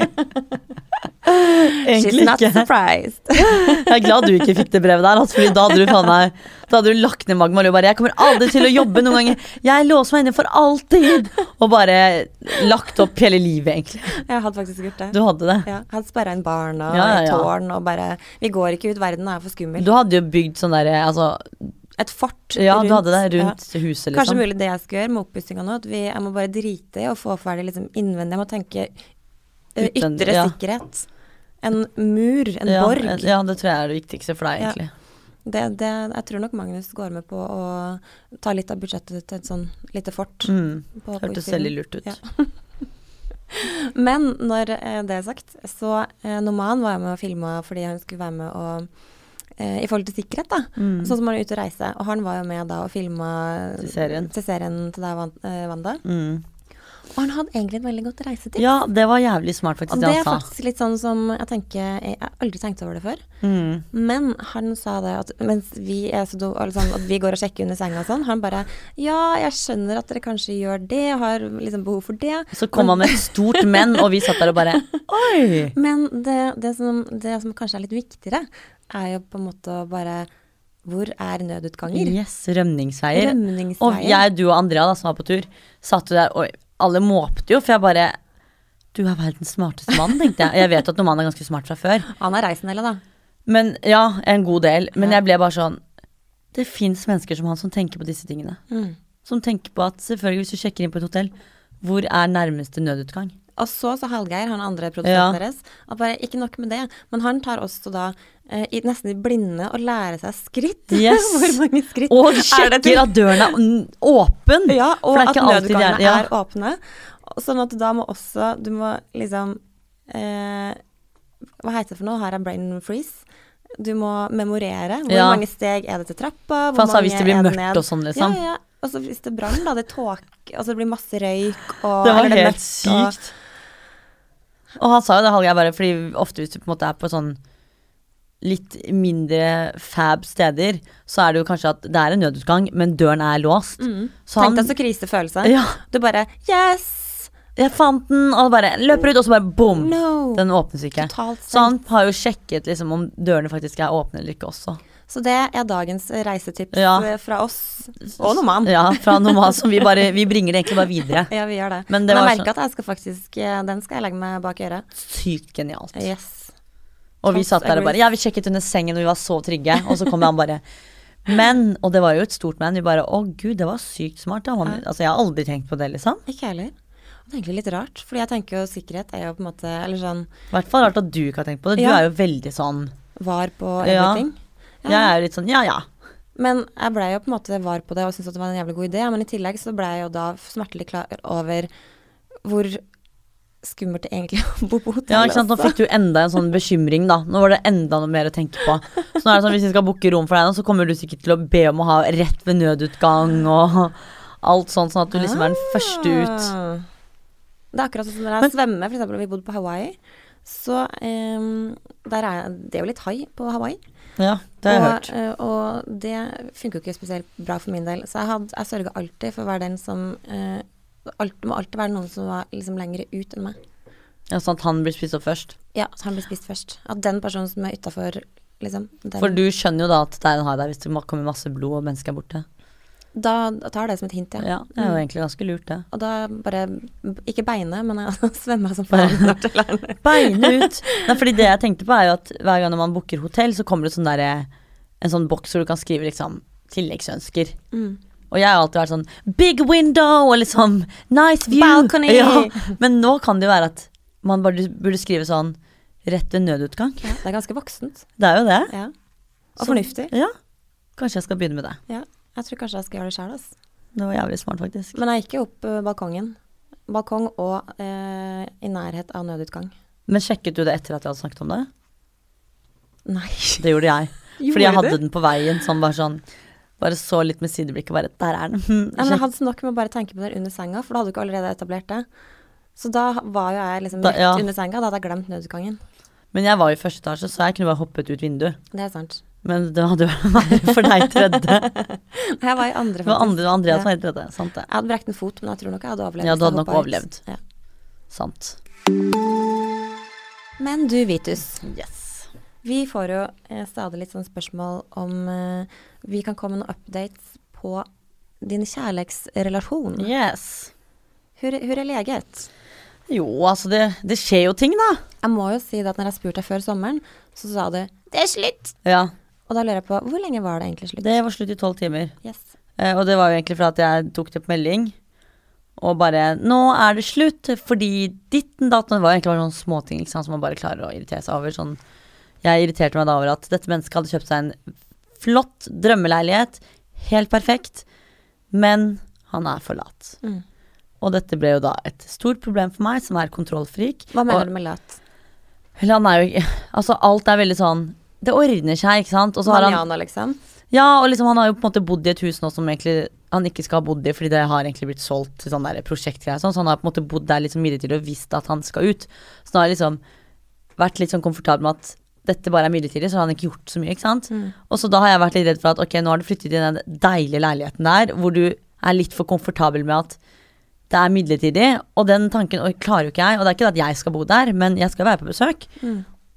Egentlig
not
ikke.
surprised.
Jeg er glad du ikke fikk det brevet der, altså, fordi da hadde du faen meg Da hadde du lagt ned Magma og bare 'Jeg kommer aldri til å jobbe noen ganger. Jeg låser meg inne for alltid.' Og bare lagt opp hele livet, egentlig.
Jeg hadde faktisk gjort det.
Du hadde det.
Ja, jeg hadde sperra inn barn og
Ja, ja, ja.
et tårn og bare Vi går ikke ut, verden er for skummel.
Du hadde jo bygd sånn derre altså,
Et fort
Ja, du hadde det
ja.
rundt huset,
Kanskje
liksom.
mulig det jeg skal gjøre med oppussinga nå, at vi, jeg må bare drite i å få ferdig liksom innvendig. Jeg må tenke ø,
Utvendig,
ytre
ja.
sikkerhet. En mur, en
ja, eh,
borg.
ja, det tror jeg er det viktigste for deg,
Ja.
egentlig.
Det, det, jeg tror nok Magnus går med på å ta litt av budsjettet til et sånn lite fort.
Mm.
på- på
Hørtes
utsiden.
veldig lurt ut.
Ja. Men når eh, det er sagt, så eh, Noman var jeg med og filma fordi han skulle være med og eh, I forhold til sikkerhet, da.
Mm.
Sånn som han er ute og reiser. Og han var jo med da og filma
Til serien.
til serien til deg, Van- eh, Wanda.
Mm.
Og han hadde egentlig et veldig godt reisetips.
Ja, det var jævlig smart, faktisk,
og
det
det
han
er
sa.
faktisk litt sånn som jeg tenker Jeg har aldri tenkt over det før.
Mm.
Men han sa det at mens vi, er så do, eller sånn, at vi går og sjekker under senga og sånn, han bare Ja, jeg skjønner at dere kanskje gjør det, har liksom behov for det.
Så kom han med et stort men, og vi satt der og bare Oi!
Men det, det, som, det som kanskje er litt viktigere, er jo på en måte å bare Hvor er nødutganger?
Yes, rømningsveier. Og
Rømningsveier.
jeg, du og Andrea da, som var på tur, satt jo der, og alle måpte jo, for jeg bare Du er verdens smarteste mann, tenkte jeg. Og Jeg vet at noen mann er ganske smart fra før.
Han har reist en del, da.
Men ja, en god del. Men
Ja.
jeg ble bare sånn Det fins mennesker som han som tenker på disse tingene.
Mm.
Som tenker på at selvfølgelig, hvis du sjekker inn på et hotell, hvor er nærmeste nødutgang?
Og så sa Hallgeir, han andre produsenten
Ja.
deres, at bare ikke nok med det, men han tar også da eh, i, nesten i blinde å lære seg skritt.
Yes.
Hvor mange skritt
Og
er det til-
sjekker at døren er n- åpen!
Ja,
For
og
det er
at
ikke alltid det er-
nødutgangene er,
ja.
åpne. Sånn at da må også Du må liksom eh, Hva heter det for noe? Her er brain freeze. Du må memorere. Hvor
Ja.
mange steg er det til trappa?
For han
Hvor
sa hvis det
mange
blir
er
mørkt
ned?
og sånn, liksom.
Ja, ja. Og så hvis det brann, da. Det tåke Og så blir det masse røyk og
Det var
eller
helt
mørkt, og-
sykt. Og han sa jo det, Hallgeir, bare fordi ofte hvis du på en måte er på sånn litt mindre fab steder, så er det jo kanskje at det er en nødutgang, men døren er låst. Så
Mm. Tenk
han
deg så krisefølelse.
Sånn. Ja,
Du bare Yes!
jeg fant den, og bare løper ut, og så bare bom!
No!
Den sånn. åpnes ikke.
Totalt
Så han
stengt.
har jo sjekket liksom om dørene faktisk er åpne eller ikke også.
sånn. Så det er dagens reisetips
Ja.
eh, fra oss. Og noen mann.
Ja, fra normal som vi bare Vi bringer det egentlig bare videre.
Ja, vi gjør det.
Men
Men,
det var sånn.
jeg merker at jeg skal faktisk, eh, den skal jeg legge meg bak øret.
Sykt genialt.
Yes.
Og vi
Totalt
satt der og bare
agreed.
Ja, vi sjekket under sengen, og vi var så trygge. Og så kom han bare Men, og det var jo et stort men, vi bare Å gud, det var sykt smart. Da. Man, altså, jeg har aldri tenkt på det, liksom.
Ikke jeg heller. Det er egentlig litt rart, fordi jeg tenker jo sikkerhet er jo på en måte Eller sånn
I hvert fall rart at du ikke har tenkt på det. Du
Ja.
er jo veldig sånn
var på
Ja.
everything.
Jeg er jo litt sånn ja ja.
Men jeg blei jo på en måte var på det og syntes at det var en jævlig god idé. Men i tillegg så blei jeg jo da smertelig klar over hvor skummelt det egentlig er å bo på hotell.
ja ikke sant? Nå fikk du enda en sånn bekymring, da. Nå var det enda noe mer å tenke på. Så nå er det sånn hvis vi skal booke rom for deg nå, så kommer du sikkert til å be om å ha rett ved nødutgang og alt sånt, sånn at du liksom er
Ah.
den første ut.
Det er akkurat sånn som når jeg svømmer, f.eks. når vi bodde på Hawaii. Så eh, der er Det er jo litt hai på Hawaii.
Ja, det har jeg
og,
hørt.
eh, Og det funker jo ikke spesielt bra for min del. Så jeg, hadde, jeg sørga alltid for å være den som eh, alt, Det må alltid være noen som var liksom lengre ut enn meg.
Ja, sånn at han blir spist opp først.
Ja, så han blir spist først. At den personen som er utafor, liksom den,
For du skjønner jo da at det er en hai der hvis det kommer masse blod og mennesker er borte.
Da tar jeg det som et hint, ja. Mm.
Ja, det er jo egentlig ganske lurt, det.
Og da bare Ikke beinet, men jeg svømmer som
Bare-
faen. bort til læreren.
Bein ut! Nei, fordi det jeg tenkte på, er jo at hver gang når man booker hotell, så kommer det sånn derre En sånn boks hvor du kan skrive liksom tilleggsønsker.
Mm.
Og jeg har alltid vært sånn big window og liksom nice view.
Balcony!
Ja. Men nå kan det jo være at man bare burde skrive sånn rett ved nødutgang.
Ja, det er ganske voksent.
Det er jo det.
Ja. Og
Så-
fornuftig.
Ja. Kanskje jeg skal begynne med det.
Ja. Jeg tror kanskje jeg skal gjøre det sjøl, altså.
Det var jævlig smart, faktisk.
Men jeg gikk jo opp eh, balkongen. Balkong og eh, i nærhet av nødutgang.
Men sjekket du det etter at jeg hadde snakket om det?
Nei.
Det gjorde jeg. Fordi
Gjorde
jeg hadde
du?
den på veien sånn bare sånn Bare så litt med sideblikket, bare Der er den. Hm,
Ja, men jeg
sjekk.
hadde så nok med å bare tenke på det under senga, for da hadde du ikke allerede etablert det. Så da var jo jeg liksom
Da-
rett
ja.
under senga, da hadde jeg glemt nødutgangen.
Men jeg var i første etasje, så jeg kunne bare hoppet ut vinduet.
Det er sant.
Men det hadde jo vært for deg tredje.
Jeg var i andre,
Det var
faktisk.
andre og Andreas
Ja.
som var i tredje. Sant det.
Jeg hadde brekt en fot, men jeg tror nok jeg hadde overlevd.
Ja,
hvis
du
jeg
hadde nok
hoppet ut.
Sant.
Ja. Men du, Vitus,
Yes.
vi får jo eh, stadig litt sånn spørsmål om eh, vi kan komme med noen updates på din kjærlighetsrelasjon.
Yes.
Hvor, hvor er leget?
Jo, altså det, det skjer jo ting, da.
Jeg må jo si det at når jeg spurte deg før sommeren, så sa du 'det er slutt'.
Ja.
Og da lurer jeg på, hvor lenge var det egentlig slutt?
Det var slutt i tolv timer.
Yes.
Eh, og det var jo egentlig fra at jeg tok det på melding. Og bare 'Nå er det slutt, fordi ditten datten Det var jo egentlig bare sånne småting ikke sant, som man bare klarer å irritere seg over. Sånn, jeg irriterte meg da over at dette mennesket hadde kjøpt seg en flott drømmeleilighet. Helt perfekt. Men han er for lat.
Mm.
Og dette ble jo da et stort problem for meg, som er kontrollfrik.
Hva mener
og,
du med lat?
Eller han er jo ikke Altså, alt er veldig sånn Det ordner seg, ikke sant? Og så har han
Manana, liksom?
ja, og liksom han har jo på en måte bodd i et hus nå som egentlig han ikke skal ha bodd i, fordi det har egentlig blitt solgt til sånn der prosjektgreier og sånn, så han har på en måte bodd der liksom midlertidig og visst at han skal ut. Så han har liksom vært litt sånn komfortabel med at dette bare er midlertidig, så har han ikke gjort så mye, ikke sant. Og så da har jeg vært litt redd for at ok, nå har du flyttet inn i den deilige leiligheten der, hvor du er litt for komfortabel med at det er midlertidig, og den tanken og klarer jo ikke jeg. Og det er ikke det at jeg skal bo der, men jeg skal være på besøk.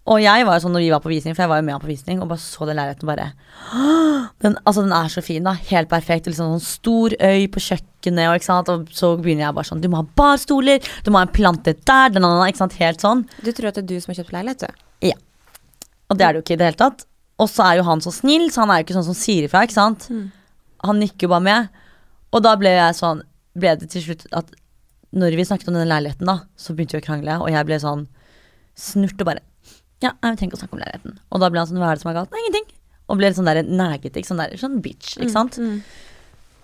Og jeg var jo sånn når vi var på visning, for jeg var jo med han på visning, og bare så den leiligheten og bare «Åh, den, Altså, den er så fin, da. Helt perfekt. Liksom sånn stor øy på kjøkkenet, og ikke sant. Og så begynner jeg bare sånn Du må ha barstoler, du må ha en plante der, den andre, ikke sant. Helt sånn.
Du tror at det er du som har kjøpt leilighet, du.
Og det er det jo ikke i det hele tatt. Og så er jo han så snill, så han er jo ikke sånn som sier ifra, ikke sant. Han nikker jo bare med. Og da ble jeg sånn Ble det til slutt at når vi snakket om denne leiligheten, da, så begynte vi å krangle, og jeg ble sånn snurt og bare Ja, jeg trenger ikke å snakke om leiligheten. Og da ble han sånn Hva er det som er galt? Nei, ingenting. Og ble litt sånn der negete, ikke sånn der, sånn bitch, ikke sant.
Mm.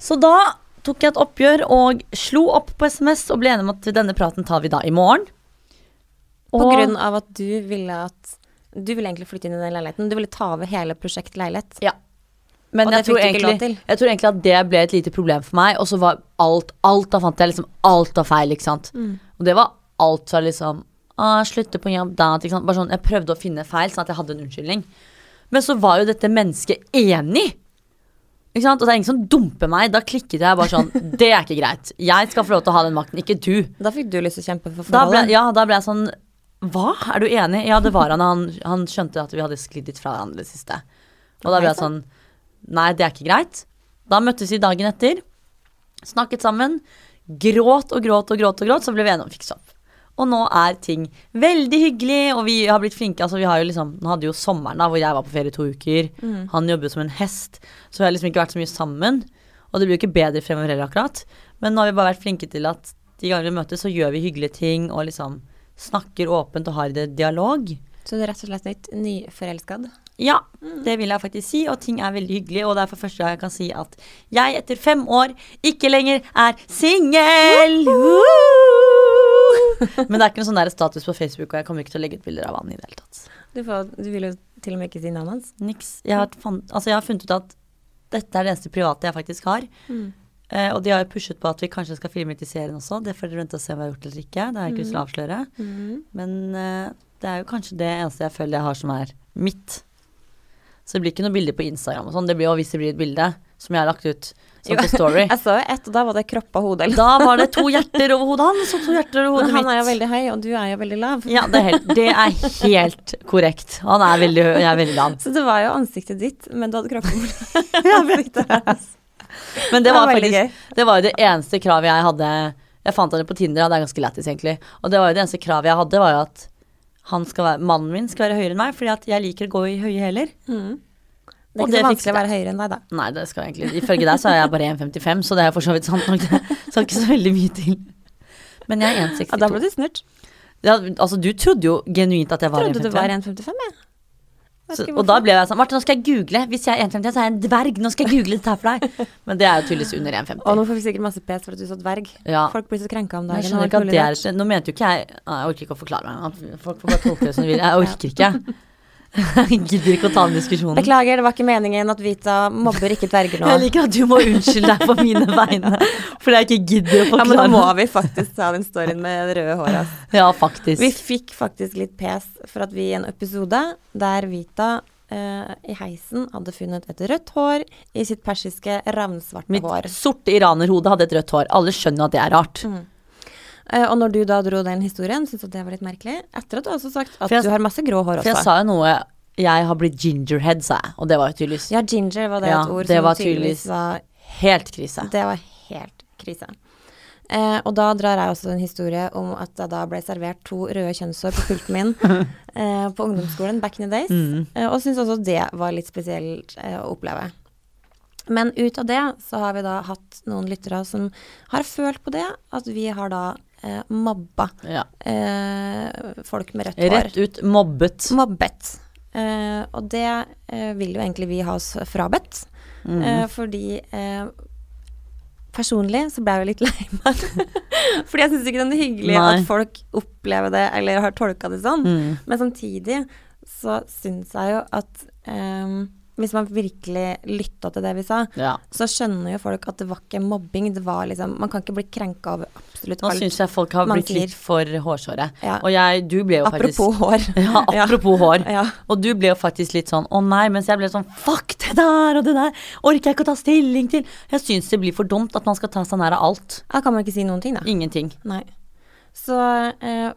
Så da tok jeg et oppgjør og slo opp på SMS og ble enig om at denne praten tar vi da i morgen.
På
Og-
grunn av at du ville at Du ville egentlig flytte inn i den leiligheten. Du ville ta over hele prosjekt leilighet.
Men
Og
jeg
det
tror,
fikk du ikke lov
egentlig,
til.
jeg tror egentlig at det ble et lite problem for meg. Og så var alt Alt da fant jeg liksom Alt var feil, ikke sant. Og det var alt fra liksom «Å, Slutte på jobb da ikke sant? Bare sånn, Jeg prøvde å finne feil, sånn at jeg hadde en unnskyldning. Men så var jo dette mennesket enig. Ikke sant? Og det er ingen som dumper meg. Da klikket jeg bare sånn Det er ikke greit. Jeg skal få lov til å ha den makten, ikke du.
Da fikk du lyst til å kjempe for
Da ble,
forholdet.
ja, da ble jeg sånn Hva? Er du enig? Ja, det var han. Han, han skjønte at vi hadde sklidd litt fra hverandre i det siste. Og da ble jeg sånn Nei, det er ikke greit. Da møttes vi dagen etter, snakket sammen, gråt og gråt og gråt, og gråt, så ble vi enige om å fikse opp. Og nå er ting veldig hyggelig, og vi har blitt flinke. Altså, vi har jo liksom, nå hadde jo sommeren da, hvor jeg var på ferie i to uker.
Mm.
Han jobbet som en hest, så vi har liksom ikke vært så mye sammen. Og det blir jo ikke bedre fremover heller, akkurat. Men nå har vi bare vært flinke til at de ganger vi møtes, så gjør vi hyggelige ting og liksom snakker åpent og har det dialog.
Så du er rett og slett litt nyforelskad.
Ja, det vil jeg faktisk si, og ting er veldig hyggelig. Og det er for første gang jeg kan si at jeg etter fem år ikke lenger er singel! Woo! Men det er ikke noen sånn der status på Facebook, og jeg kommer ikke til å legge ut bilder av han i det hele tatt.
Du, får, du vil jo til og med ikke si navnet hans.
Niks. Jeg har, fan- altså jeg har funnet ut at dette er det eneste private jeg faktisk har.
Mm.
Eh, og de har jo pushet på at vi kanskje skal filme ut i serien også. Det får dere vente og se om jeg har gjort eller ikke. Det har jeg ikke
Mm.
lyst til å avsløre.
Mhm.
Men eh, det er jo kanskje det eneste jeg føler jeg har som er mitt. Så det blir ikke noe bilder på Instagram og sånn. Det blir jo hvis det blir et bilde som jeg har lagt ut
Jo.
sånn på Story.
Jeg så jo ett, og da var det kropp og hode. Eller?
Da var det to hjerter over hodet hans og to hjerter over hodet
Men han er jo
mitt.
veldig høy, og du er jo veldig lav.
Ja, det er helt, det er helt korrekt. Han er veldig høy, og jeg er veldig lav.
Så det var jo ansiktet ditt, men du hadde kroppen på ansiktet hans.
Men det var
er veldig
faktisk Det var jo det eneste kravet jeg hadde Jeg fant han på Tinder, og det er ganske lættis egentlig. Og det var jo det eneste kravet jeg hadde, var jo at han skal være, mannen min skal være høyere enn meg, fordi at jeg liker å gå i høye hæler.
gøy. Mm. Det er
Og
ikke
det fikset
så vanskelig å være høyere enn deg, da.
Nei, det skal jeg egentlig Ifølge deg så er jeg bare 1,55, så det er for så vidt sant nok. Det skal ikke så veldig mye til. Men jeg er
Ja, da ble
1,62.
du snurt.
Ja, altså, du trodde jo genuint at jeg var
Trodde du var
1,55.
1,55, jeg. Vet
Så-
ikke
Og
hvorfor.
da ble jeg sånn Martin, nå skal jeg google. Hvis jeg er 1,55, så er jeg en dverg. Nå skal jeg google dette her for deg. Men det er jo tydeligvis under
Og
1,50.
nå får vi sikkert masse pes for at du så dverg.
Ja,
Folk blir så krenka om
Men
dagen.
Jeg skjønner
og
ikke at
alt
det
mulig
er Nå mente jo ikke jeg Nei, Jeg orker ikke å forklare meg. Folk får bare tolke det som de vil. Jeg orker ikke. Jeg gidder ikke å ta den
rart.
diskusjonen.
Beklager, det var ikke meningen at Vita mobber ikke dverger nå.
Jeg liker at du må unnskylde deg på mine vegne fordi jeg ikke gidder å
Ja, men nå må
forklare.
vi faktisk ta den storyen med det røde håret. ass.
Ja,
Vi
faktisk.
fikk faktisk litt pes for at vi i en episode der Vita eh, i heisen hadde funnet et rødt hår i sitt persiske ravnsvarte
Mitt
hår. Mm.
sorte iranerhode hadde et rødt hår. Alle skjønner at det er rart.
Eh, og når du da dro den historien, syntes du at det var litt merkelig? Etter at du også har sagt at
For jeg-
du har masse grå hår
For jeg
også.
sa jo noe Jeg har blitt gingerhead, sa jeg. Og det var jo tydeligvis
Ja, ginger var det
Ja,
et ord
det
som
var
tydeligvis
tydeligvis-
var
helt krise.
Det var helt krise. Eh, og da drar jeg også en historie om at jeg da ble servert to røde kjønnshår på pulten min eh, på ungdomsskolen back in the days, eh, og syns også det var litt spesielt eh, å oppleve. Men ut av det så har vi da hatt noen lyttere som har følt på det, at vi har da eh, mobba
Ja.
eh, folk med rødt hår.
Rett ut mobbet.
Mobbet. Eh, og det eh, vil jo egentlig vi ha oss frabedt.
Mm. Mhm.
Eh, fordi eh, personlig så ble jeg jo litt lei meg. fordi jeg syns ikke det er hyggelig
Nei.
at folk opplever det eller har tolka det sånn.
Mm.
Men samtidig så syns jeg jo at eh, hvis man virkelig lytta til det vi sa,
Ja.
så skjønner jo folk at det var ikke mobbing. Det var liksom Man kan ikke bli krenka over absolutt
Nå
alt.
syns jeg folk har
man
blitt
sier.
litt for hårsåre.
Ja.
Og jeg, du ble jo faktisk
Apropos hår.
Ja,
Ja.
apropos hår.
Ja.
Og du ble jo faktisk litt sånn 'å nei', mens jeg ble sånn 'fuck det der og det der', orker jeg ikke å ta stilling til. Jeg syns det blir for dumt at man skal ta seg nær av alt.
Da kan man ikke si noen ting, da.
Ingenting.
Nei. Så eh,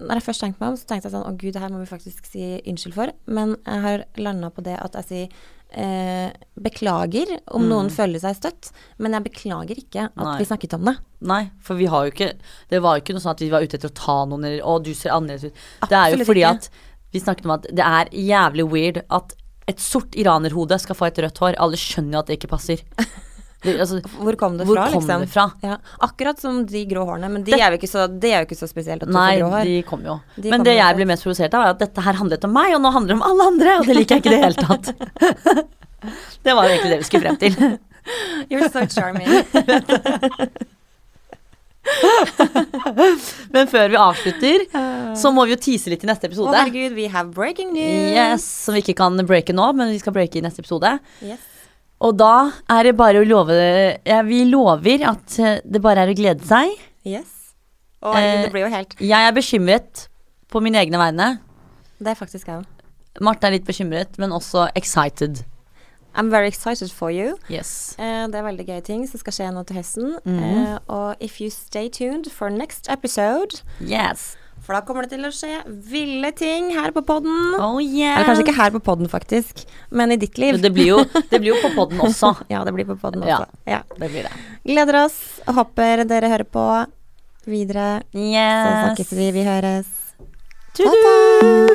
når jeg først tenkte meg om, så tenkte jeg sånn Å gud, det her må vi faktisk si unnskyld for. Men jeg har landa på det at jeg sier eh, beklager om noen føler seg støtt, men jeg beklager ikke at
Mm. Nei.
vi snakket om det.
Nei, for vi har jo ikke Det var jo ikke noe sånn at vi var ute etter å ta noen eller Å, du ser annerledes ut. Det er jo
Absolutt
fordi
ikke.
at vi snakket om at det er jævlig weird at et sort iranerhode skal få et rødt hår. Alle skjønner jo at det ikke passer. Det, altså,
Hvor kom det
Hvor
fra,
kom
liksom?
det fra?
Ja, akkurat som de grå hårene, men de er jo ikke så, det er jo ikke så spesielt at du
nei,
får grå hår.
de kom jo.
De
Men
kom
det
jo
jeg
fra-
ble mest provosert av, var at dette her handlet om meg, og nå handler det om alle andre, og det liker jeg ikke i det hele tatt. det var jo egentlig det vi skulle frem til.
You're so charming.
Men før vi avslutter, så må vi jo tease litt i neste
Å
episode.
herregud, we have breaking news.
Yes, Som vi ikke kan breake nå, men vi skal breake i neste episode.
Yes.
Og da er det bare å love ja, Vi lover at eh, det bare er å glede seg.
yes. Å, herregud,
Eh,
det blir jo helt
Jeg er bekymret på mine egne vegne.
Det er faktisk jeg òg.
Marte er litt bekymret, men også excited.
I'm very excited for you.
Yes.
Eh, det er veldig gøye ting som skal skje nå til høsten.
Mhm.
Eh, og if you stay tuned for next episode,
Yes.
for da kommer det til å skje ville ting her på podden. Eh.
Oh yeah.
Eller kanskje ikke her på podden, faktisk, men i ditt liv.
Det blir jo, det blir jo på poden også.
Ja, det blir på podden
Ja.
også. Ja.
Det blir det.
Gleder oss. Håper dere hører på videre. Så
Yes.
snakkes vi. Vi høres.
Tudu!